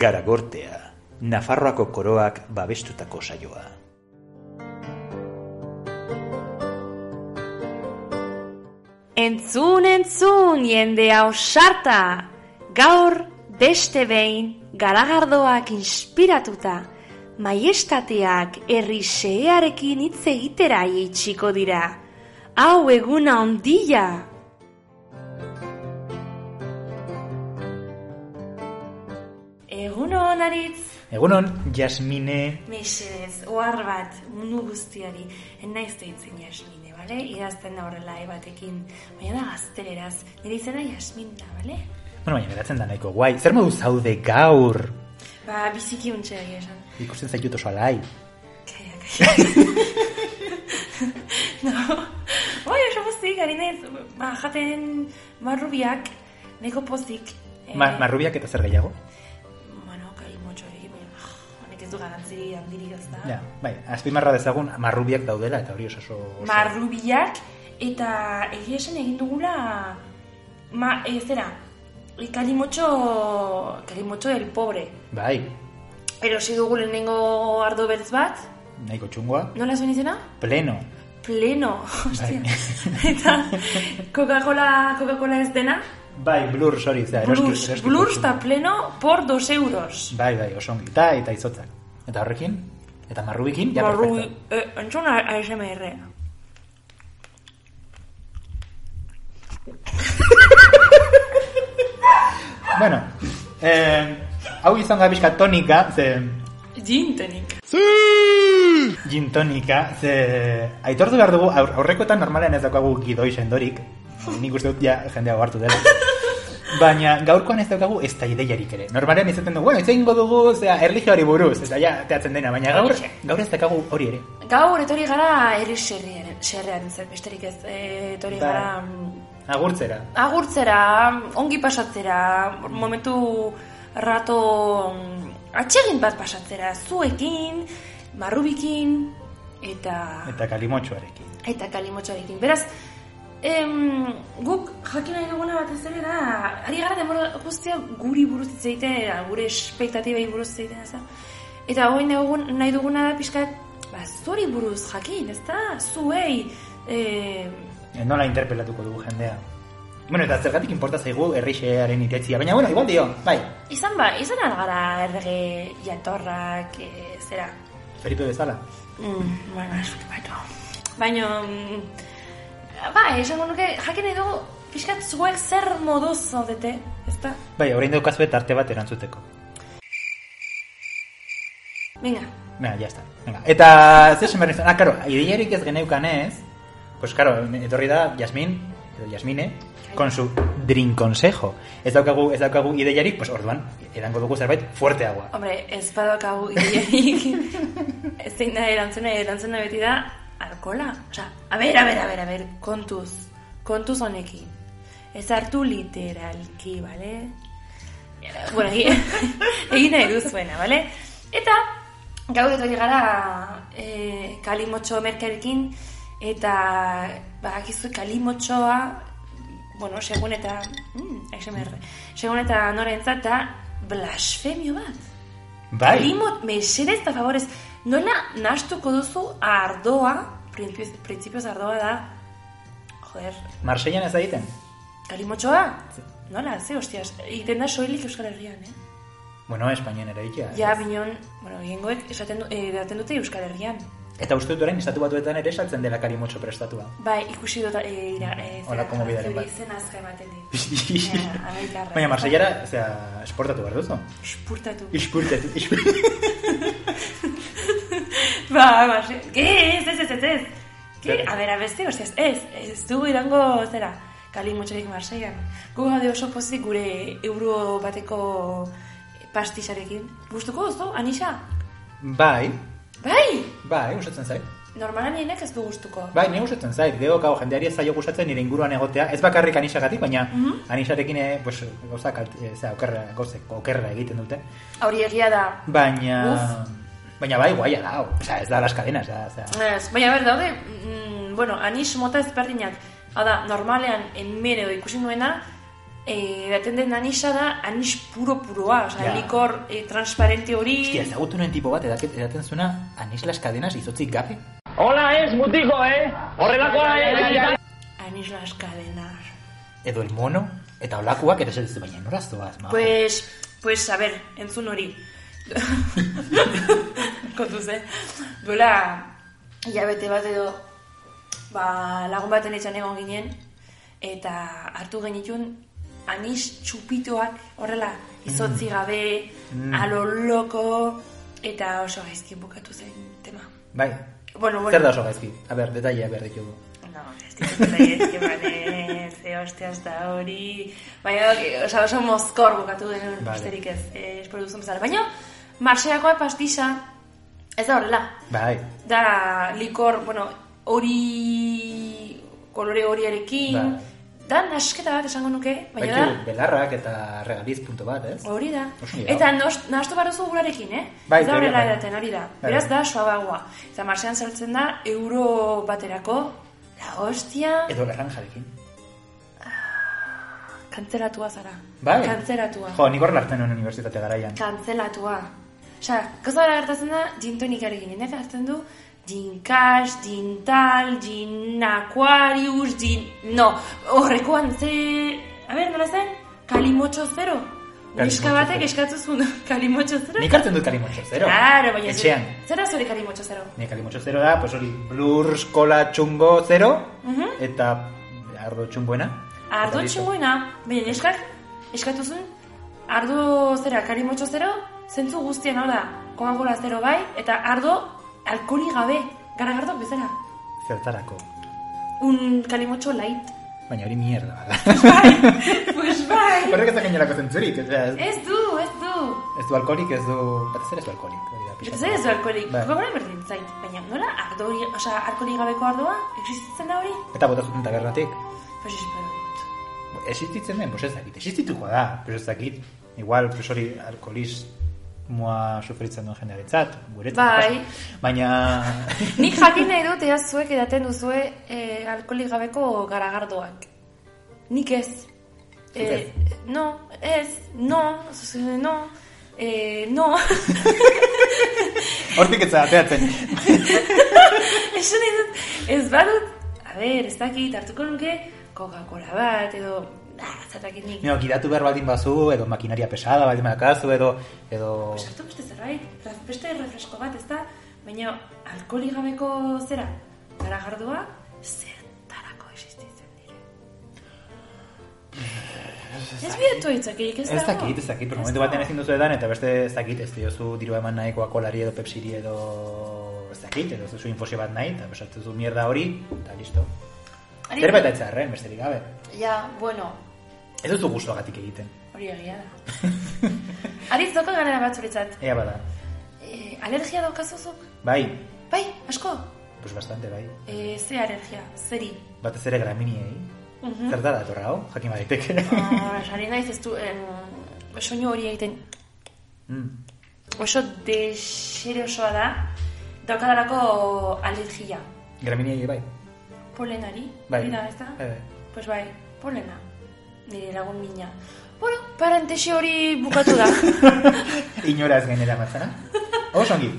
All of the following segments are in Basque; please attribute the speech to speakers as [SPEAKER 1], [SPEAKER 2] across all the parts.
[SPEAKER 1] Garagortea, Nafarroako koroak babestutako saioa.
[SPEAKER 2] Entzun, entzun, jendea osarta! Gaur, beste behin, garagardoak inspiratuta, maiestateak herri xearekin hitz egitera itxiko dira. Hau eguna ondila! Egun honaritz,
[SPEAKER 1] Egunon, Jasmine,
[SPEAKER 2] mesedez, ohar bat, mundu guztiari, naiz deitzen jasmine, bale? Idazten da horrela E batekin, baina da gazteleraz, nire izena jasmin da, bale?
[SPEAKER 1] bueno, baina geratzen da nahiko guai, zer modu zaude gaur?
[SPEAKER 2] Ba, biziki untxe egia esan.
[SPEAKER 1] Ikusten zaitut oso alai.
[SPEAKER 2] Kaia, kaia. no, oi, oso pozik, ari naiz, ba, jaten marrubiak, neko pozik. eh,
[SPEAKER 1] Ma, marrubiak eta zer gehiago?
[SPEAKER 2] Bueno, kai motxo ere, baina, ah, honek ez du garantziri handirik ez da.
[SPEAKER 1] Ja, bai, azpimarra dezagun marrubiak daudela eta hori oso oso... oso-
[SPEAKER 2] marrubiak eta egia esan egin dugula ma, e, zera e, kalimotxo kalimotxo del pobre
[SPEAKER 1] Bai,
[SPEAKER 2] erosi dugu lehenengo ardo bertz bat
[SPEAKER 1] nahiko txungoa,
[SPEAKER 2] nola zuen izena?
[SPEAKER 1] pleno.
[SPEAKER 2] pleno hostia. eta Coca-Cola Coca-Cola ez dena
[SPEAKER 1] Bai, blur, sorry, zera, eroski...
[SPEAKER 2] blurs,
[SPEAKER 1] eroski
[SPEAKER 2] blurs
[SPEAKER 1] kutxuna.
[SPEAKER 2] eta pleno por dos euros
[SPEAKER 1] Bai, bai, oso ongi, eta, eta izotzak. Eta horrekin, eta marrubikin, ja,
[SPEAKER 2] Marrubi,
[SPEAKER 1] perfecto.
[SPEAKER 2] e, entzun A- ASMR
[SPEAKER 1] Bueno, eh, hau izan da bizka tonika, ze...
[SPEAKER 2] jintenik
[SPEAKER 1] Gin tonika, ze... Aitortu behar dugu, aur, aurrekoetan normalean ez daukagu gidoi sendorik. Nik uste dut ja jendea hartu dela. Baina gaurkoan ez daukagu ez da ideiarik ere. Normalean izaten dugu, bueno, hitz egingo dugu, zera, erlijioari buruz, ez da, ja, teatzen dena, baina gaur, gaur ez daukagu hori ere.
[SPEAKER 2] Gaur etorri gara herri serrearen, serrearen zer, besterik ez, e, etorri
[SPEAKER 1] Bai.
[SPEAKER 2] gara mm,
[SPEAKER 1] Agurtzera.
[SPEAKER 2] agurtzera, ongi pasatzera, momentu rato mm, atsegin bat pasatzera, zuekin, marrubikin, eta,
[SPEAKER 1] Eta kalimotxoarekin.
[SPEAKER 2] eta kalimotxoarekin. Beraz, em, guk jakin nahi duguna batez ere da, ari gara denbora guztia guri buruz hitz egiten, gure espektatibei buruz hitz egiten, ez da? Eta hori nahi, dugun- nahi duguna da pixka, ba, zuri buruz jakin, ez da? Zuei, em,
[SPEAKER 1] E, Nola interpelatuko dugu jendea. Bueno, eta zergatik inporta zaigu errixearen itetzia, baina bueno, igual dio, bai,
[SPEAKER 2] izan ba, izan algara errege jatorrak, e, zera,
[SPEAKER 1] Felipe bezala.
[SPEAKER 2] Mm, bueno, ez dut baino. Baina, mm, ba, esango nuke, jakin nahi dugu, pixkat zuek zer moduz zaudete, ezta?
[SPEAKER 1] Bai, orain daukazue tarte bat erantzuteko.
[SPEAKER 2] Venga,
[SPEAKER 1] Venga, ya está. Venga. Eta zer esan behar nizun? Ah, karo, ideiarik ez geneukan ez, pues karo, etorri da Jasmin, edo Jasmine, con su drink consejo. Ez daukagu, ez daukagu ideiarik, pues orduan, edango dugu zerbait fuerteagoa.
[SPEAKER 2] hombre, ez badaukagu ideiarik. ez zein da erantzuna, erantzuna beti da, alkola. Osa, a ber, a ber, a ber, a ber, kontuz, kontuz honekin. Ez hartu literalki, bale? bueno, egin, egin nahi duzuena, bale? Eta, gau etorri gara e, kalimotxo merkearekin, eta, ba, akizu kalimotxoa, bueno, segun eta, mm, ASMR, segun eta norentzat da, blasfemio bat.
[SPEAKER 1] Bai,
[SPEAKER 2] Kalimot, mesedez eta favorez, nola nastuko duzu ardoa, printzipioz, printzipioz ardoa da, joder,
[SPEAKER 1] Marseillan ez da egiten?
[SPEAKER 2] kalimotxoa? Nola, ze, hostias, egiten da soilik Euskal Herrian, eh?
[SPEAKER 1] Bueno, Espainian ere egitea.
[SPEAKER 2] Ja, binon, bueno, egingoek esaten du, eh, edaten dute Euskal Herrian.
[SPEAKER 1] Eta uste dut orain, estatu batuetan ere esatzen dela karimotxo prestatua.
[SPEAKER 2] Bai, ikusi dut, e, ira, e,
[SPEAKER 1] Hola, como bidaren bat.
[SPEAKER 2] Zen azka ematen dit. Ja, amerikarra.
[SPEAKER 1] Baina Marseillara, zera, esportatu behar duzu.
[SPEAKER 2] Espurtatu.
[SPEAKER 1] Ispurtatu,
[SPEAKER 2] Ba, ba, se- ke, ez, ez, ez, ez, ez. Ke,
[SPEAKER 1] Zer?
[SPEAKER 2] a bera beste, ostias, ez, ez dugu irango, zera, kalimotxorik Marseian. Gu gaude oso pozik gure euro bateko pastisarekin. Gustuko duzu, Anisa?
[SPEAKER 1] Bai,
[SPEAKER 2] Bai!
[SPEAKER 1] bai, usatzen zait.
[SPEAKER 2] Normalan nienek ez du gustuko.
[SPEAKER 1] Bai, ni gustatzen zait, gero gau jendeari ez zaio gustatzen nire inguruan egotea, ez bakarrik anisagatik, baina
[SPEAKER 2] Mhm.
[SPEAKER 1] anisarekin eh, pues, gauzak, alt- eh, zera, okerra, gauzek okerra egiten dute.
[SPEAKER 2] Hori egia da,
[SPEAKER 1] Baina...
[SPEAKER 2] Uf.
[SPEAKER 1] Baina bai, guaia da, hau. Osea, ez da las cadenas, da, osea.
[SPEAKER 2] Ez, baina ber, daude, mm, bueno, anis mota ezberdinak. Hau da, normalean, enmere edo ikusi nuena, e, daten den anisa da, anis puro-puroa, oza,
[SPEAKER 1] Ja.
[SPEAKER 2] likor e, transparente hori...
[SPEAKER 1] Hostia, ezagutu nuen tipo bat edaket, edaten zuena anis las cadenas izotzik gabe.
[SPEAKER 3] Hola ez, mutiko, eh? Horrelakoa, eh?
[SPEAKER 2] Anis las cadenas.
[SPEAKER 1] Edo el mono, eta olakoak ere zeltzu, baina noraztoaz, majo.
[SPEAKER 2] Pues, pues, a ber, entzun hori. Kontuz, eh? Duela, hilabete bat edo, ba, lagun baten etxan egon ginen, eta hartu genitun anis txupitoak, horrela, izotzi gabe,
[SPEAKER 1] Mm.
[SPEAKER 2] alo loko, eta oso gaizki bukatu zen tema.
[SPEAKER 1] Bai.
[SPEAKER 2] Bueno, bueno.
[SPEAKER 1] Zer da oso gaizki? A ber, detailea behar ditugu.
[SPEAKER 2] No, ez ditut gaizki, bale, ze hostias da hori. Baina, osa, oso mozkor bukatu denun,
[SPEAKER 1] Vale.
[SPEAKER 2] besterik ez, eh, espero duzun bezala. Baina, marxeakoa pastisa, ez da horrela,
[SPEAKER 1] Bai.
[SPEAKER 2] da likor, bueno, hori kolore horiarekin,
[SPEAKER 1] Bai.
[SPEAKER 2] da nasketa bat esango nuke, baina da,
[SPEAKER 1] Baitu, belarrak eta regaliz punto bat, ez?
[SPEAKER 2] hori da.
[SPEAKER 1] Oso ondo.
[SPEAKER 2] Eta nos- nahastu behar duzu gurarekin, eh?
[SPEAKER 1] Bai,
[SPEAKER 2] ez da
[SPEAKER 1] teoria,
[SPEAKER 2] horrela
[SPEAKER 1] bai.
[SPEAKER 2] edaten, hori da.
[SPEAKER 1] Bai,
[SPEAKER 2] Beraz
[SPEAKER 1] bai.
[SPEAKER 2] da, suabagoa. Eta marxean sartzen da, euro baterako, la hostia...
[SPEAKER 1] Edo laranjarekin.
[SPEAKER 2] Kantzelatua zara.
[SPEAKER 1] Bai.
[SPEAKER 2] Kantzelatua.
[SPEAKER 1] Jo, nik horren hartzen nuen unibertsitate garaian.
[SPEAKER 2] Kantzelatua. Osa, gauza bera gertatzen da, gintonikarrekin, nef hartzen du, ginkas, gintal, gin aquarius, gin... No, horrekoan ze... A ber, nola zen? Kalimotxo zero.
[SPEAKER 1] Kalimotxo
[SPEAKER 2] Neska batek
[SPEAKER 1] zero.
[SPEAKER 2] eskatu zuen kalimotxo zero.
[SPEAKER 1] Nik hartzen dut kalimotxo zero.
[SPEAKER 2] Claro, baina... zu-
[SPEAKER 1] Etxean.
[SPEAKER 2] Zer da zure kalimotxo zero?
[SPEAKER 1] Nik kalimotxo zero da, pues hori, blur, kola, txungo, zero, eta ardo txungoena. Eta
[SPEAKER 2] Ardo
[SPEAKER 1] listo.
[SPEAKER 2] txingoena, baina neskak eskatu zuen, ardo zera, karimotxo zero, zentzu guztien hau da, Coca-Cola zero bai, eta ardo alkoli gabe, garagardok bezala.
[SPEAKER 1] Zertarako.
[SPEAKER 2] Un kalimotxo light.
[SPEAKER 1] Baina hori mierda bada.
[SPEAKER 2] pues bai!
[SPEAKER 1] Horrek ez da gainelako zentzurik. O sea, ez
[SPEAKER 2] Ez du, ez du!
[SPEAKER 1] du alkoholik, ez du... Batez ere ez du alkoholik. hori da, pixka
[SPEAKER 2] Zer ez du alkolik,
[SPEAKER 1] Bai.
[SPEAKER 2] Coca-Cola berdin zait, baina nola ardo hori, osea, alkoli gabeko ardoa, existitzen da hori?
[SPEAKER 1] Eta bota zuten tabernatik.
[SPEAKER 2] Pues espero dut.
[SPEAKER 1] Existitzen den, pues ez dakit. Existituko da, pues ez dakit. Igual, pues hori alkoholiz mua sufritzen duen jendearentzat, guretzat.
[SPEAKER 2] Bai.
[SPEAKER 1] kasu. Baina...
[SPEAKER 2] Nik jakin nahi dut, ea zuek edaten duzue e, alkoholik gabeko garagardoak. Nik ez. Eh,
[SPEAKER 1] Zuk ez?
[SPEAKER 2] no, ez, no, z- no, e, no.
[SPEAKER 1] Hortik ez ateatzen.
[SPEAKER 2] Esan nahi dut, ez badut, a ber, ez dakit, hartuko nuke Coca-Cola bat, edo, ah, zatakit nik.
[SPEAKER 1] Nio, gidatu behar baldin bazu, edo makinaria pesada baldin bakazu, edo... edo...
[SPEAKER 2] Pues hartu beste zerbait, raf- beste refresko bat, ez da, baina alkoholik gabeko zera, garagardua, zertarako existitzen dira. Ez bietu aitzakirik, ez
[SPEAKER 1] Ez
[SPEAKER 2] dago.
[SPEAKER 1] dakit, ez dakit, pero momentu
[SPEAKER 2] dago.
[SPEAKER 1] batean ezin duzu edan, eta beste ez dakit, ez diozu dirua eman nahikoa kolari edo pepsiri edo ez dakit, edo ez duzu infosio bat nahi, eta besatu zu mierda hori, eta listo.
[SPEAKER 2] Ari-
[SPEAKER 1] Zerbait atzarren, besterik gabe.
[SPEAKER 2] Ja, bueno,
[SPEAKER 1] Ez duzu gustuagatik egiten.
[SPEAKER 2] hori egia da. Aritz doko ganera bat zuretzat.
[SPEAKER 1] Ea bada.
[SPEAKER 2] E, alergia daukazuzuk?
[SPEAKER 1] Bai,
[SPEAKER 2] Bai, asko?
[SPEAKER 1] pues bastante bai.
[SPEAKER 2] E, ze alergia, zeri?
[SPEAKER 1] Batez ere graminiei.
[SPEAKER 2] Mhm.
[SPEAKER 1] Zer da datorra hau, jakin baditeke.
[SPEAKER 2] Ah, Sari naiz ez du, em, soinu hori egiten
[SPEAKER 1] Mm.
[SPEAKER 2] oso desere osoa da, daukadalako alergia.
[SPEAKER 1] Graminiei bai.
[SPEAKER 2] Polenari,
[SPEAKER 1] Bai.
[SPEAKER 2] hori da, ez da?
[SPEAKER 1] Bai, bai.
[SPEAKER 2] Pues bai, polena, nire lagun mina. Bueno, parentesi hori bukatu da.
[SPEAKER 1] Inora ez gainera matzana. Oso ongi.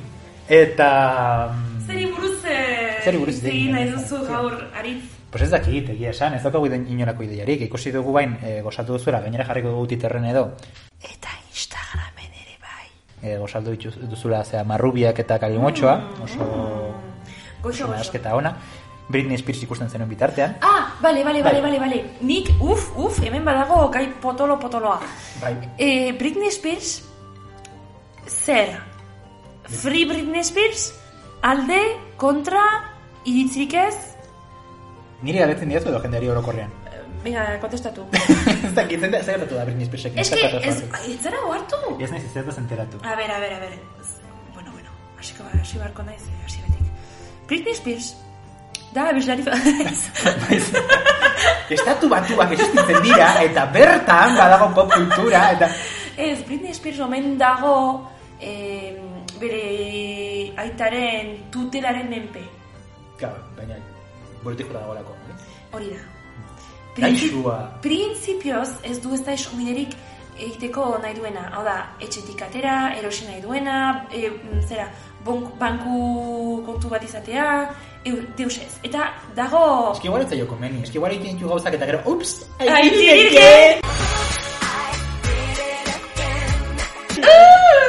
[SPEAKER 1] Eta... mm,
[SPEAKER 2] Zeri buruz, eh,
[SPEAKER 1] Zeri buruz hitz egin
[SPEAKER 2] nahi
[SPEAKER 1] nahi
[SPEAKER 2] duzu
[SPEAKER 1] duzu?
[SPEAKER 2] gaur, aritz.
[SPEAKER 1] Pues ez dakit, egia esan, ez daukagu iden- inolako ideiarik. Ikusi dugu bain, e, gozatu duzuela, gainera jarriko dugu titerren edo.
[SPEAKER 2] Eta Instagramen ere bai.
[SPEAKER 1] E, gozatu dituz- duzula, zera, marrubiak eta kalimotxoa. Oso...
[SPEAKER 2] Goxo, goxo.
[SPEAKER 1] Nahasketa ona. Britney Spears ikusten zenuen bitartean.
[SPEAKER 2] Ah, bale, bale, bale,
[SPEAKER 1] Bai.
[SPEAKER 2] bale, bale. Nik, uf, uf, hemen badago gai potolo potoloa.
[SPEAKER 1] Bai.
[SPEAKER 2] Eh, Britney Spears, zer? Free Britney Spears, alde, kontra, iritzirik ez?
[SPEAKER 1] Niri galetzen diazu edo jendeari orokorrean.
[SPEAKER 2] Eh, Venga, kontestatu.
[SPEAKER 1] ez dakit, zen da, zer gertatu da Britney Spearsek.
[SPEAKER 2] Ez que, Ah, ez, ez zara ohartu?
[SPEAKER 1] Ez nahiz ez ez enteratu.
[SPEAKER 2] A ver, a ver, a ver. Bueno, bueno, hasiko ba, hasi barko naiz, eh, hasi betik. Britney Spears, da, abeslari...
[SPEAKER 1] Baiz. Estatu batuak existitzen dira, eta bertan badago pop kultura, eta...
[SPEAKER 2] Ez, Britney Spears omen dago eh, bere aitaren tutelaren menpe.
[SPEAKER 1] Claro, baina, burutik jura dagoelako. eh?
[SPEAKER 2] Hori da.
[SPEAKER 1] Gaixua.
[SPEAKER 2] Printzipioz ez du ez da eskubiderik egiteko nahi duena. Hau da, etxetik atera, erosi nahi duena, e, mm, zera, bonk, banku kontu bat izatea, eur, deus ez. Eta dago...
[SPEAKER 1] Eski igual ez zaio komeni, eski igual egiten ditu gauzak eta gero, ups,
[SPEAKER 2] Aitirike!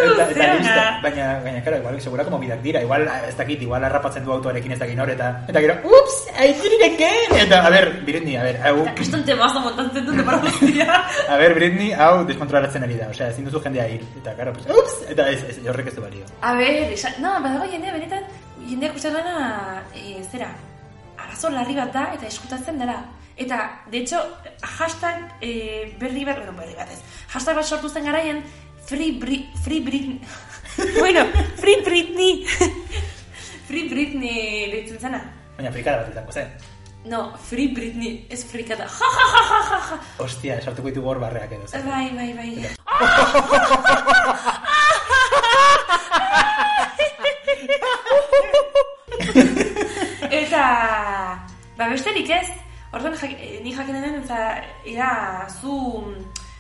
[SPEAKER 1] Eta, eta
[SPEAKER 2] zera.
[SPEAKER 1] listo. Baina, baina, karo, igual, segurako mobidak dira. Igual, ah, ez dakit, igual harrapatzen du autoarekin ez dakin hor, eta, eta gero, ups, aitzirike! Eta, a ber, Britney, a ber, hau,
[SPEAKER 2] Eta kriston temazo montatzen dut depara guztia.
[SPEAKER 1] a ber, Britney, hau deskontrolatzen ari da. Osea, ezin duzu jendea hil. Eta, karo, pues, ups, eta ez, ez, horrek ez du balio.
[SPEAKER 2] A ber, esan, no, badago jendea benetan, jendeak uste duena, e, zera, arazo larri bat da eta eskutatzen dela. Eta, de hecho, hashtag e, berri bat, bueno, berri bat ez, hashtag bat sortu zen garaien, free, Bri free Britney, bueno, free Britney, free Britney deitzen zena.
[SPEAKER 1] Baina, frikada bat izango zen.
[SPEAKER 2] No, free Britney, ez frikada, ja, ja, ja, ja, ja, ja.
[SPEAKER 1] Ostia, sartuko ditugu hor barreak edo zen.
[SPEAKER 2] Bai, bai, bai. Eta, ba besterik ez, orduan jak, eh, ni jakin den, eta ea zu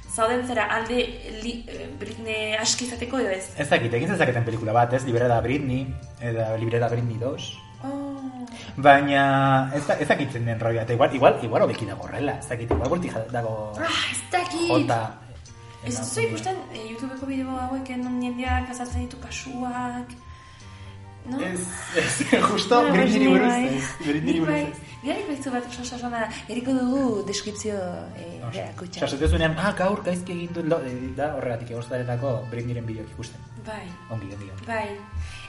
[SPEAKER 2] zauden zera alde li, eh, Britney aski izateko edo ez.
[SPEAKER 1] Ez dakit, egin zezaketen pelikula bat, ez? Liberada Britney, eta Liberada Britney 2.
[SPEAKER 2] Oh.
[SPEAKER 1] Baina, ez, da- ez dakit zen den roia, eta igual, igual, igual obeki dago horrela. Ez dakit, igual borti dago
[SPEAKER 2] Ah, ez dakit!
[SPEAKER 1] jota.
[SPEAKER 2] Ez duzu ikusten e, YouTubeko bideo hauek eh, non jendeak azaltzen ditu kasuak. No?
[SPEAKER 1] Ez, ez, justo
[SPEAKER 2] Bueno,
[SPEAKER 1] Britney
[SPEAKER 2] pues,
[SPEAKER 1] buruz
[SPEAKER 2] bai.
[SPEAKER 1] ez. Britney
[SPEAKER 2] Nik
[SPEAKER 1] buruz
[SPEAKER 2] bai.
[SPEAKER 1] ez.
[SPEAKER 2] Gerrik baizu bat oso sasona, geriko dugu deskripzio eh, erakutsa.
[SPEAKER 1] Sasotu zuenean, ah, gaur gaizki egin dut, lo, eh, da horregatik egostaretako Britneyren bideoak ikusten.
[SPEAKER 2] Bai,
[SPEAKER 1] Ongi, ongi, ongi.
[SPEAKER 2] bai.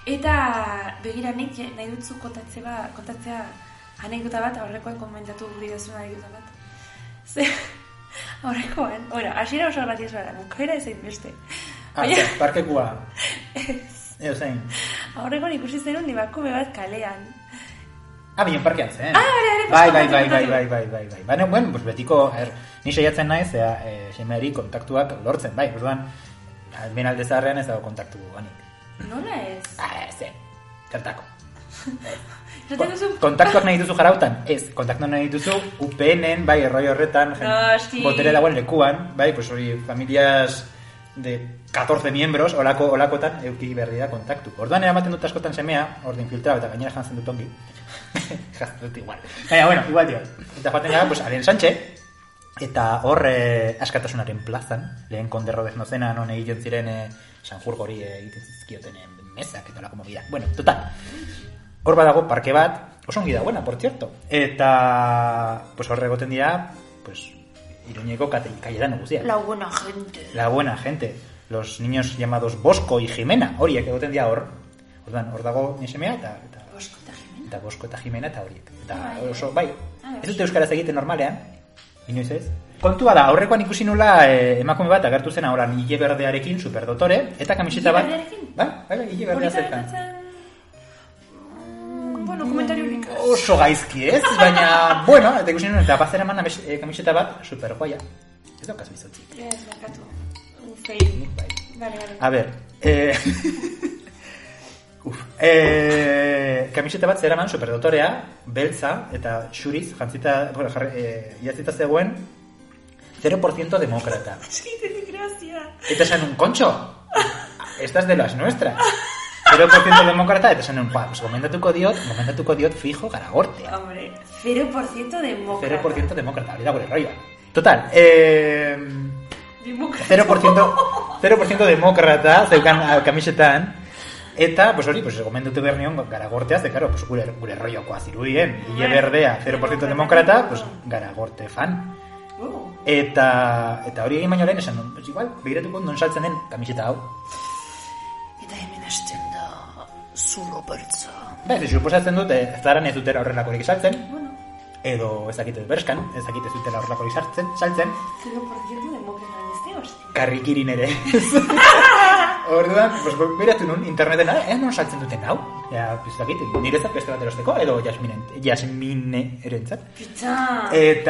[SPEAKER 2] Eta begira nik je- nahi dut zu kontatze ba, kontatzea anekdota bat, aurrekoan komentatu guri dazun anekdota bat. Ze, aurrekoan, bueno, hasiera oso gratiosoa da, bukaera ezein beste.
[SPEAKER 1] Ah,
[SPEAKER 2] Baina-
[SPEAKER 1] ze, parkekua. Eo zein.
[SPEAKER 2] Aurrekoan ikusi zenun nibakume bat kalean.
[SPEAKER 1] Ah, binen parkean zen.
[SPEAKER 2] Ah, bale,
[SPEAKER 1] bai,
[SPEAKER 2] bale,
[SPEAKER 1] bai, bai,
[SPEAKER 2] kontatu,
[SPEAKER 1] bai,
[SPEAKER 2] kontatu.
[SPEAKER 1] bai, bai, bai, bai. Baina, bueno, pues betiko, er, ni saiatzen naiz, ea, e, semeari kontaktuak lortzen, bai, orduan, ben alde zaharrean ez dago kontaktu guanik.
[SPEAKER 2] Nola ez?
[SPEAKER 1] Ah, ze, kartako.
[SPEAKER 2] Zaten duzu
[SPEAKER 1] Kontaktuak nahi duzu jarautan? Ez, kontaktuak nahi duzu UPN-en, bai, erroi horretan, jen-
[SPEAKER 2] Noski.
[SPEAKER 1] botere dagoen lekuan, bai, pues hori, familias de 14 miembros, olako, olakotan, euki berri da kontaktu. Orduan eramaten dut askotan semea, ordin filtrado, eta gainera jantzen dut ongi. jantzen dut igual. Baina, bueno, igual dio. Eta joaten gara, pues, Alen Sánchez, eta hor eh, askatasunaren plazan, lehen konderro deznozena, non egiten ziren eh, Sanjurgori eh, egiten zizkioten eh, mesak, eta olako mobidak. Bueno, total, Hor badago parke bat, oso ongi dagoena, por cierto. Eta, pues hor egoten dira, pues, iruñeko kate, kaietan guztia. La...
[SPEAKER 2] la buena gente.
[SPEAKER 1] buena gente. Los niños llamados Bosco y Jimena, horiek egoten dira hor. Ordan, hor dago nesemea eta, eta,
[SPEAKER 2] Bosko eta Jimena.
[SPEAKER 1] eta Bosco eta Jimena eta horiek. Eta
[SPEAKER 2] Bai.
[SPEAKER 1] oso, bai,
[SPEAKER 2] Ah,
[SPEAKER 1] ez dute euskaraz egiten normalean, inoiz ez. Kontua da, aurrekoan ikusi nula eh, emakume bat agertu zen ahora hile berdearekin, superdotore, eta kamiseta bat...
[SPEAKER 2] Ile berdearekin?
[SPEAKER 1] Bai, bai, bai, hile berdea
[SPEAKER 2] Horita
[SPEAKER 1] zertan.
[SPEAKER 2] gertatzen... Mm, Bueno, komentario horik.
[SPEAKER 1] oso gaizki ez, baina, bueno, eta ikusi nuen, eta bazera eman ames- eh, kamiseta bat, super guaia. Ez daukaz bizotzik.
[SPEAKER 2] Ez, bakatu. Fail.
[SPEAKER 1] Nik bai.
[SPEAKER 2] Bale, bale.
[SPEAKER 1] A ber, eh... Uf, eh, kamiseta bat zeraman superdotorea, beltza, eta xuriz, jantzita, bueno, jarri, eh, idatzita zegoen, 0% demokrata.
[SPEAKER 2] Txite de gracia.
[SPEAKER 1] Eta esan un kontxo. Estas de las nuestras. 0% demokrata, eta esan un, ba, pues gomendatuko diot, gomendatuko diot fijo garagortea.
[SPEAKER 2] Hombre, 0% demócrata.
[SPEAKER 1] 0% demócrata, hori da gure rollo. Total, eh,
[SPEAKER 2] Demócrata.
[SPEAKER 1] 0%, 0 demokrata zeukan ah, kamisetan, eta, pues hori, pues gomendute behar nion garagortea, ze, karo, pues, gure, gure rollokoa zirudien, hile berdea, 0% demokrata, pues garagorte fan.
[SPEAKER 2] Oh.
[SPEAKER 1] Eta, eta hori egin baino lehen esan, nun, pues igual, begiratuko non saltzen den kamiseta hau.
[SPEAKER 2] Eta hemen hasten da... Zurro pertsa.
[SPEAKER 1] Ba, ez suposatzen dut, eh, zaran ez dutera horrelakorik saltzen,
[SPEAKER 2] Bueno,
[SPEAKER 1] edo ez dakit berskan, ez dakit ez dutela horrelakorik saltzen, saltzen
[SPEAKER 2] 0% demócrata. Ez de hostia.
[SPEAKER 1] karrikirin ere. Orduan, pues, beratu nun, interneten, ah, eh, non saltzen duten hau? Ja, pues, dakit, niretzat beste bat erosteko, edo jasminen, jasmine erentzat.
[SPEAKER 2] Pizza.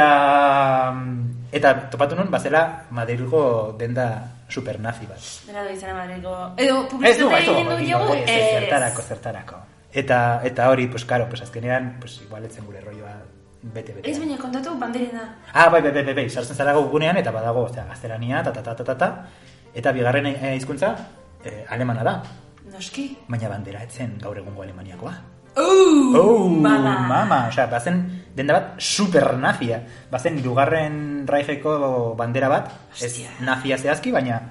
[SPEAKER 1] Eta, eta topatu nun, bazela Madrilgo denda supernazi bat.
[SPEAKER 2] Dena du izan amarreko... Edo,
[SPEAKER 1] Ez du,
[SPEAKER 2] publizitate
[SPEAKER 1] ez du,
[SPEAKER 2] egin du
[SPEAKER 1] ez
[SPEAKER 2] diogu,
[SPEAKER 1] du, ez, zertarako, zertarako. Eta, eta hori, pues, karo, pues, azkenean, pues, igual etzen gure rolloa bete, bete.
[SPEAKER 2] Ez baina kontatu banderena.
[SPEAKER 1] Ah, bai, bai, bai, bai, bai, sartzen zara gugunean, eta badago, ostia, gaztelania, ta, ta, ta, ta, ta, ta. eta bigarren eh, hizkuntza eh, alemana da,
[SPEAKER 2] Noski.
[SPEAKER 1] baina bandera etzen gaur egungo alemaniakoa.
[SPEAKER 2] Oh,
[SPEAKER 1] Oh,
[SPEAKER 2] mama.
[SPEAKER 1] mama, osea, bazen denda bat super nafia. Bazen dugarren raifeko bandera bat, ez
[SPEAKER 2] Hostia.
[SPEAKER 1] nafia zehazki, baina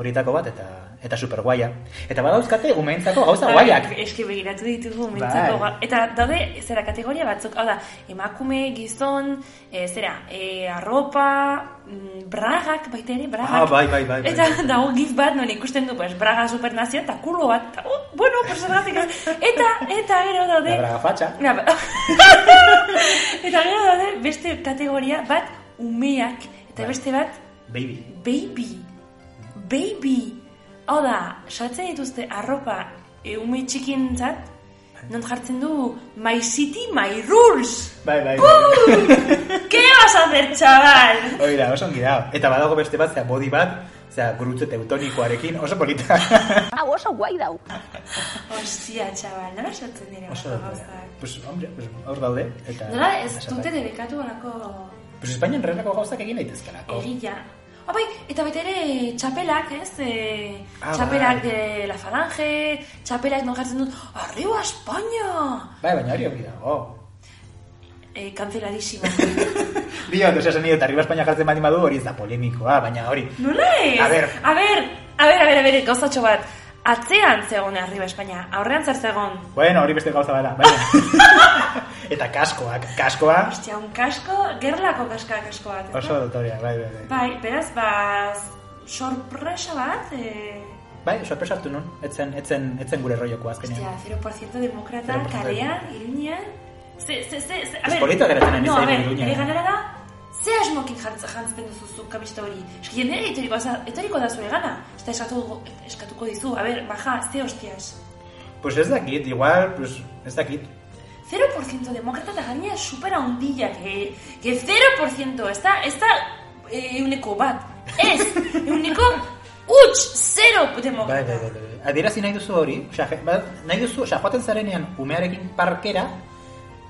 [SPEAKER 1] horietako bat, eta eta super guaia. Eta badauzkate umeentzako gauza
[SPEAKER 2] Bai,
[SPEAKER 1] guaiak.
[SPEAKER 2] Eski begiratu ditugu mentzako.
[SPEAKER 1] Bai.
[SPEAKER 2] ga- Eta daude, zera, kategoria batzuk, hau da, emakume, gizon, e, zera, e, arropa, mm, bragak, baita ere, bragak.
[SPEAKER 1] Ah, bai, bai, bai, bai.
[SPEAKER 2] Eta dago gif bat, non ikusten du, pues, braga supernazioa, eta kulo bat, eta, oh, bueno, pues, zergatik ez. Eta, eta, gero daude...
[SPEAKER 1] La braga fatxa.
[SPEAKER 2] Na, ba- eta gero daude beste kategoria bat, umeak, eta
[SPEAKER 1] Bai.
[SPEAKER 2] beste bat,
[SPEAKER 1] Baby.
[SPEAKER 2] Baby, baby. Hau da, sartzen dituzte arropa e, ume txikientzat, non jartzen du My City, My Rules.
[SPEAKER 1] Bai, bai,
[SPEAKER 2] Uh!
[SPEAKER 1] bai.
[SPEAKER 2] ¿Qué vas a hacer, chaval?
[SPEAKER 1] Oira, oso ongi dago. Eta badago beste bat, zera, body bat, zera, gurutze teutonikoarekin, oso polita.
[SPEAKER 4] Hau oso guai dau.
[SPEAKER 2] Ostia, chaval, nola sartzen dira
[SPEAKER 1] oso
[SPEAKER 2] horrelako
[SPEAKER 1] daude.
[SPEAKER 2] gauzak?
[SPEAKER 1] Pues, hombre, pues, hor daude. Eta,
[SPEAKER 2] Nola ez
[SPEAKER 1] eta
[SPEAKER 2] dute
[SPEAKER 1] bai.
[SPEAKER 2] debekatu horako
[SPEAKER 1] Pues Espainian relako gauzak egin daitezkelako.
[SPEAKER 2] erila. Ah, bai, eta baita ere txapelak, ez? E,
[SPEAKER 1] Ah,
[SPEAKER 2] txapelak
[SPEAKER 1] bai.
[SPEAKER 2] de la falange, txapelak non jartzen dut, arriba España!
[SPEAKER 1] Bai, baina hori hori dago.
[SPEAKER 2] E, kanceladísima.
[SPEAKER 1] Diot, osea, esan diot, arriba Espainia jartzen baldin badu hori ez da polemikoa, baina hori.
[SPEAKER 2] Nola ez?
[SPEAKER 1] A ber.
[SPEAKER 2] a ber, a ber, a ber, a ber, gauzatxo bat. Atzean zegoen arriba Espainia, aurrean zer zegoen.
[SPEAKER 1] Bueno, hori beste gauza bada, baina. eta kaskoak, kaskoa
[SPEAKER 2] Ostia, un kasko, gerlako kaska kasko bat. ezta?
[SPEAKER 1] oso dotorea, bai, bai, bai.
[SPEAKER 2] Bai, beraz, ba, sorpresa bat, e...
[SPEAKER 1] Bai, sorpresa hartu nun, etzen, etzen, etzen gure rollokoa
[SPEAKER 2] Ostia,
[SPEAKER 1] azkenean.
[SPEAKER 2] 0% demokrata,
[SPEAKER 1] 0%
[SPEAKER 2] kalean, iruñean... Ze, ze, ze, ze, a
[SPEAKER 1] Ez
[SPEAKER 2] ber...
[SPEAKER 1] polita geratzen ari
[SPEAKER 2] no, a
[SPEAKER 1] zaigu
[SPEAKER 2] ber,
[SPEAKER 1] Iruñean.
[SPEAKER 2] nire ganara da, ze asmokin jantz, jantzpen duzu zu kamista hori. Eski, jendea etoriko, za- etoriko da zure gana. Eta eskatuko, eskatuko dizu, a ber, baja, ze hostias.
[SPEAKER 1] Pues ez dakit, igual, pues ez dakit.
[SPEAKER 2] 0% demócrata eta gainera supera ondila, que, que 0% ez da, ez da eh, euneko bat, ez, euneko utx, 0
[SPEAKER 1] Bai, bai,
[SPEAKER 2] demokrata.
[SPEAKER 1] bai, bai. Adierazi nahi duzu hori, osea, je- ba- nahi duzu, osea, joaten zarenean umearekin parkera,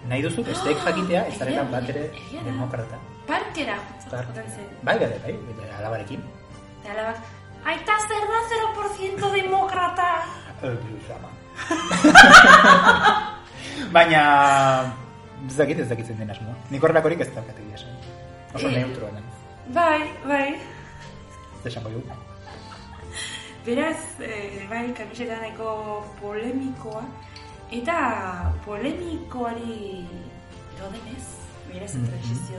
[SPEAKER 1] nahi duzu besteek jakitea, ez zarela bat ere
[SPEAKER 2] Egia da.
[SPEAKER 1] demokrata.
[SPEAKER 2] Parkera,
[SPEAKER 1] Bai,
[SPEAKER 2] joten zen.
[SPEAKER 1] bai, bai, bai, bai, alabarekin.
[SPEAKER 2] Eta alabak, aita zer da 0% demokrata.
[SPEAKER 1] Eh, ama. Baina, ez dakit ez dakit zein den asmoa. Nik horrelakorik ez daukate egia esan. Oso
[SPEAKER 2] Eh.
[SPEAKER 1] neutroa naiz.
[SPEAKER 2] Bai, bai.
[SPEAKER 1] Ez esango dugu.
[SPEAKER 2] Beraz, eh, bai, kamiseta nahiko polemikoa, ¿eh? eta polemikoari gaudenez, beraz,
[SPEAKER 1] Mhm.
[SPEAKER 2] transizio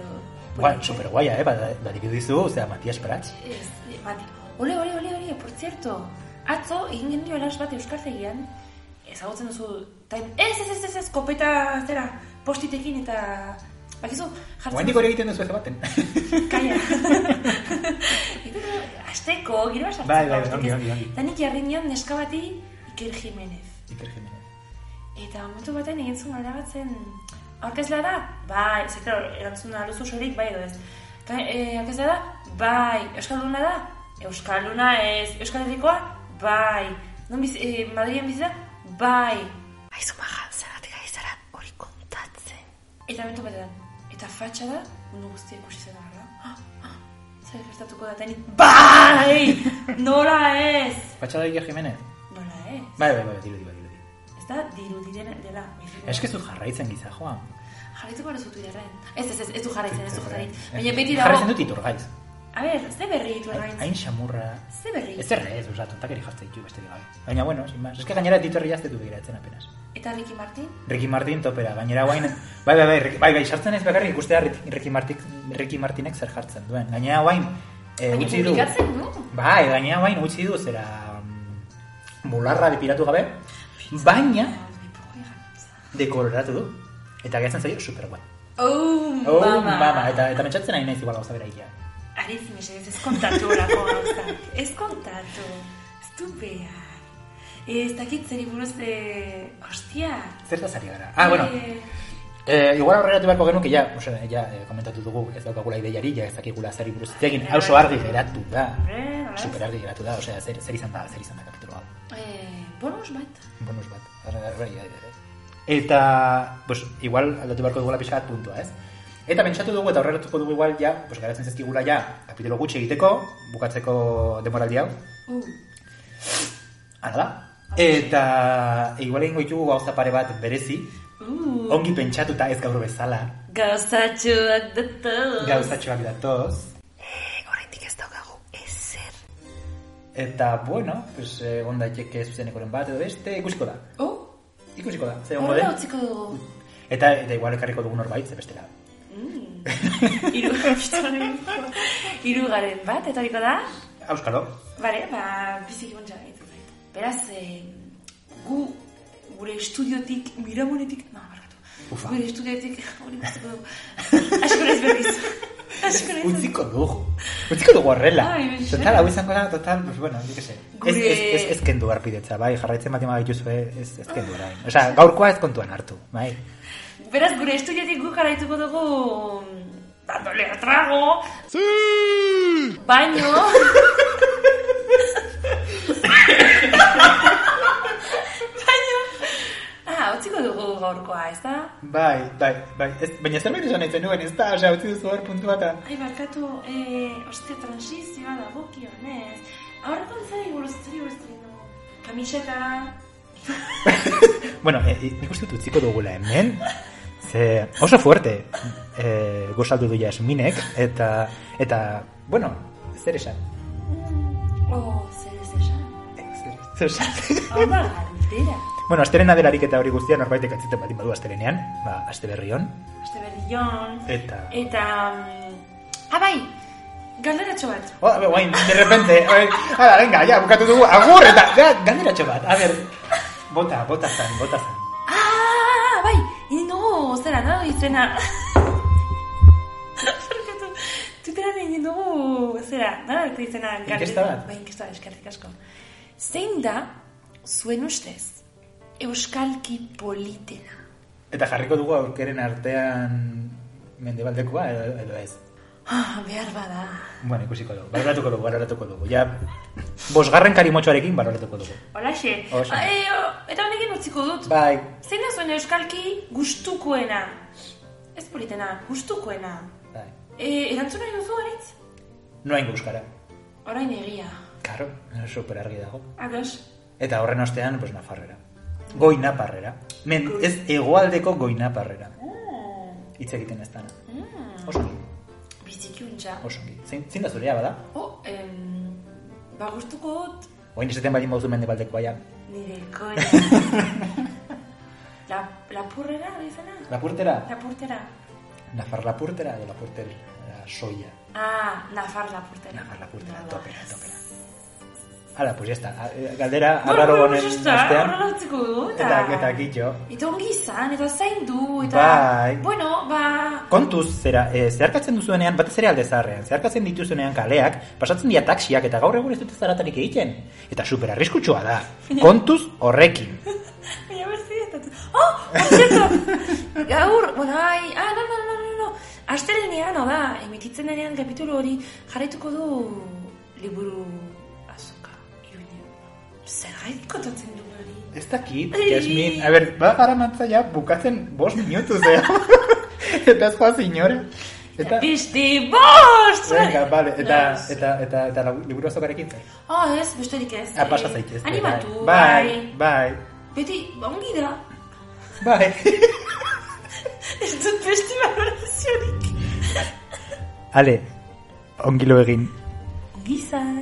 [SPEAKER 1] Guai,
[SPEAKER 2] polemikoa.
[SPEAKER 1] super guaia, eh? Bada- Badiru dizu, ozea, Matias Prats.
[SPEAKER 2] Ez, eh, bat, ole, ole, ole, ole, por cierto, atzo egin gendio elas bat euskartegian, ezagutzen duzu, ta, ez, ez, ez, ez, ez, kopeta, zera, postitekin eta, bakizu, jartzen
[SPEAKER 1] Guaindik hori egiten duzu ez baten.
[SPEAKER 2] kaia. Azteko, gero sartzen.
[SPEAKER 1] Bai, bai,
[SPEAKER 2] da,
[SPEAKER 1] ongi,
[SPEAKER 2] ez?
[SPEAKER 1] ongi, ongi.
[SPEAKER 2] Eta nik jarri nion neska bati Iker Jimenez.
[SPEAKER 1] Iker Jimenez.
[SPEAKER 2] Eta momentu batean egin zuen gara batzen, aurkezlea da, bai, ze, claro, erantzuna luzu sorik, bai, edo ez. Ka, e, aurkezlea da, bai, Euskalduna da, Euskalduna ez, Euskal Herrikoa, bai, non biz, e, Madrilen bizi da, bai. Aizu maja, zergatik ari zara hori kontatzen. Eta momentu batean, eta fatxa da, mundu guztia ikusi zen gara. Ah, ah, Zer gertatuko da, eta nik, bai, nola ez,
[SPEAKER 1] Patxada Iker Jimenez.
[SPEAKER 2] nola ez.
[SPEAKER 1] Bai, bai, bai, dirudi, bai, dirudi.
[SPEAKER 2] Ez da, dirudi dena- dela. biziko.
[SPEAKER 1] Ez que zu jarraitzen giza, joan.
[SPEAKER 2] Jarraituko ere zutu irarren. Ez, ez, ez, ez du jarraitzen, ez du
[SPEAKER 1] Ez,
[SPEAKER 2] jarraitzen.
[SPEAKER 1] ez.
[SPEAKER 2] Baina
[SPEAKER 1] Bai.
[SPEAKER 2] beti
[SPEAKER 1] Jarraitzen
[SPEAKER 2] dago...
[SPEAKER 1] dut itur, gaiz.
[SPEAKER 2] A ber, ze berri ditu
[SPEAKER 1] Hain
[SPEAKER 2] errain?
[SPEAKER 1] hain xamurra.
[SPEAKER 2] Ze berri?
[SPEAKER 1] Ez erre ez, oza, tontakeri jartzen ditu beste gabe. Baina, bueno, sin más. Ez que gainera ditu herri jaztetu begiratzen apenas.
[SPEAKER 2] Eta Ricky Martin?
[SPEAKER 1] Ricky Martin topera, gainera guain... Bai, bai, bai, Ricky- bai, bai, sartzen ez bakarrik ikustea Ricky- Ricky, Martik, Ricky Martinek zer jartzen duen. Gainera guain... E,
[SPEAKER 2] Baina
[SPEAKER 1] utzi du.
[SPEAKER 2] publikatzen du.
[SPEAKER 1] Bai, gainera guain utzi du, zera... mm, Bularra depilatu gabe, baina dekoloratu du. Eta gaitzen zaio super guai.
[SPEAKER 2] Oh,
[SPEAKER 1] Oh,
[SPEAKER 2] mama!
[SPEAKER 1] mama, eta, eta metxatzen nahi naiz igual gauza bera egia.
[SPEAKER 2] Ariz, mesedez, ez kontatu lako gauzak. Ez kontatu. Ez du behar. Ez dakit zeri buruz, eh... Ostia!
[SPEAKER 1] Zer da zari gara? Ah, bueno,
[SPEAKER 2] Eh,
[SPEAKER 1] Eh, igual aurreratu beharko genuke ja, osea, ja eh, komentatu dugu, ez daukagula ideiari, ja ez dakigula zari buruz hitz egin, hau oso argi geratu da.
[SPEAKER 2] Hombre, nola ez?
[SPEAKER 1] Super argi geratu da, osea, zer, zer izan da, zer izan da kapitulo hau.
[SPEAKER 2] eh, bonus bat.
[SPEAKER 1] Bonus bat. Bai, Arre, arre, arre, arre. Eta, pues, igual aldatu beharko dugula pixka bat puntua, ez? Eta pentsatu dugu eta horretuko dugu igual ja, pues, garatzen zezkigula ja, kapitelo gutxi egiteko, bukatzeko demoraldi hau.
[SPEAKER 2] Uh,
[SPEAKER 1] Hala da. Eta igual egingo ditugu gauza pare bat berezi,
[SPEAKER 2] uh,
[SPEAKER 1] ongi pentsatuta ez gaur bezala,
[SPEAKER 2] gauzatxuak datoz.
[SPEAKER 1] gauzatxoak datoz.
[SPEAKER 2] Horretik Eh, ez daukagu ezer.
[SPEAKER 1] Eta, bueno, pues, eh, on daiteke zuzenekoren bat edo beste, ikusiko da.
[SPEAKER 2] Oh,
[SPEAKER 1] Ikusiko da, ze ongo
[SPEAKER 2] horrela
[SPEAKER 1] den.
[SPEAKER 2] utziko dugu.
[SPEAKER 1] Eta, eta igual ekarriko dugu norbait, ze bestela.
[SPEAKER 2] Mm. Hiru gizonen- Hirugaren bat, etoriko da?
[SPEAKER 1] Auskalo,
[SPEAKER 2] Bale, ba, biziki ontsa gaitu. Beraz, eh, gu gure estudiotik, miramonetik, no, barkatu.
[SPEAKER 1] Ufa.
[SPEAKER 2] Gure estudiotik, hori utziko dugu. Asko naiz berriz. Asko naiz berriz.
[SPEAKER 1] utziko dugu. Utziko dugu horrela.
[SPEAKER 2] Ai, mesedez.
[SPEAKER 1] Total, hau izango da, total, pues, bueno, nik ese. Ez,
[SPEAKER 2] Bai, Gure-
[SPEAKER 1] ez, ez, ez kendu arpidetza, bai, jarraitzen batima badituzue, eh, ez, ez kendu orain. Osea, gaurkoa ez kontuan hartu, bai.
[SPEAKER 2] Beraz, gure estudiotik gu jarraituko dugu mm, dándole a trago. Baino. Baino. Ah, utziko dugu gaurkoa, ez da?
[SPEAKER 1] Bai, bai, bai, ez, baina zerbait esan nahi zenuen, ez da, osea, utzi duzu hor puntu bat,
[SPEAKER 2] Ai, barkatu, eh, oste, transizioa da bukionez. Aurreko zari buruz, zari buruz, zari buruz. Kamiseta.
[SPEAKER 1] Bueno, e, e, nik uste dut utziko dugula hemen. Ze oso fuerte e, gozaldu du jasminek, eta, eta, bueno, zer esan?
[SPEAKER 2] Oh, zer ez esan.
[SPEAKER 1] Zer, zer esan?
[SPEAKER 2] Hau da, galdera.
[SPEAKER 1] bueno, astelena delarik eta hori guztia norbaitek atzitu batin badu astelenean, ba, aste berri hon.
[SPEAKER 2] Oste berrion.
[SPEAKER 1] Eta-
[SPEAKER 2] Eta... mm, Ah, bai, galderatxo bat.
[SPEAKER 1] Oh, a ber, guain, de repente, oe, ala, venga, ja, bukatu dugu, agur, eta, ja, ganderatxo bat, a ber, bota, bota zan, bota zan.
[SPEAKER 2] Ah, bai, egin dugu zera, no? Izena... Barkatu, Twitteran egin dugu zera, no? Eta izena... galde-
[SPEAKER 1] Inkesta bat?
[SPEAKER 2] Bai, inkesta bat, eskerrik asko. Zein da, zuen ustez, euskalki politena?
[SPEAKER 1] Eta jarriko dugu aurkeren artean mendebaldekoa, edo, edo ez.
[SPEAKER 2] Ah, behar bada.
[SPEAKER 1] Bueno, ikusiko dugu, baloratuko dugu, baloratuko dugu. Ja, bosgarren karimotxoarekin baloratuko dugu.
[SPEAKER 2] Olaxe.
[SPEAKER 1] Oso.
[SPEAKER 2] Ah, e, o- eta honekin utziko dut.
[SPEAKER 1] Bai,
[SPEAKER 2] Zein da zuen euskalki gustukoena? Ez politena, gustukoena.
[SPEAKER 1] bai.
[SPEAKER 2] E, erantzuna egin duzu, Aritz?
[SPEAKER 1] Noain euskara.
[SPEAKER 2] Orain egia.
[SPEAKER 1] Karo, super argi dago.
[SPEAKER 2] Ados.
[SPEAKER 1] Eta horren ostean, pues, Nafarrera. Goi Naparrera. Men, ez egoaldeko goi Naparrera.
[SPEAKER 2] Mm,
[SPEAKER 1] Hitz egiten ez dana.
[SPEAKER 2] mm,
[SPEAKER 1] Oso ongi,
[SPEAKER 2] biziki untxa.
[SPEAKER 1] oso ongi. Zein, zein da zurea bada?
[SPEAKER 2] Oh, em, ba gustuko dut
[SPEAKER 1] Oain esaten baldin bauzu mendebaldeko baia.
[SPEAKER 2] nire koera. La, lapurrera, hori zena?
[SPEAKER 1] Lapurtera?
[SPEAKER 2] Lapurtera.
[SPEAKER 1] Nafar lapurtera edo lapurtera soia.
[SPEAKER 2] Ah, nafar lapurtera.
[SPEAKER 1] Nafar lapurtera,
[SPEAKER 2] Bada.
[SPEAKER 1] topera, topera. Hala, pues ya está. A- eh, Galdera,
[SPEAKER 2] Bueno,
[SPEAKER 1] arraro
[SPEAKER 2] bueno,
[SPEAKER 1] honen
[SPEAKER 2] pues ya está,
[SPEAKER 1] ostean.
[SPEAKER 2] Horrela utziko dut.
[SPEAKER 1] Eta, eta kitxo.
[SPEAKER 2] Eta ongi izan, eta zain du, eta...
[SPEAKER 1] Bai.
[SPEAKER 2] Bueno, ba...
[SPEAKER 1] Kontuz, zera, e, zeharkatzen duzuenean, batez ere alde zaharrean, zeharkatzen dituzuenean kaleak, pasatzen dira taksiak eta gaur egun ez dute zaratarik egiten. Eta super arriskutsua da. Kontuz horrekin.
[SPEAKER 2] Baina berzi eta... Oh, por cierto! Gaur, bueno, ai... Ah, no, no, no, no, no. Astelenean, hau da, emititzen denean kapitulu hori jarraituko du liburu azoka. Iruñe. Zergatik kontatzen du hori?
[SPEAKER 1] Ez dakit, Jasmin, a ber, ba gara mantza ja bukatzen bost minutu zea. eta ez joaz inora. Eta,
[SPEAKER 2] Beste bost!
[SPEAKER 1] venga, vale, eta,
[SPEAKER 2] Nice.
[SPEAKER 1] eta, eta, eta, labu- liburu azokarekin zer.
[SPEAKER 2] Ah, ez, besterik ez.
[SPEAKER 1] Ah, pasa
[SPEAKER 2] Eh,
[SPEAKER 1] zaitez.
[SPEAKER 2] Animatu,
[SPEAKER 1] bai. Bai,
[SPEAKER 2] Beti, ba, ongi da.
[SPEAKER 1] bai.
[SPEAKER 2] Ez dut beste baloraziorik.
[SPEAKER 1] Ale, ongilo egin.
[SPEAKER 2] Ongi izan.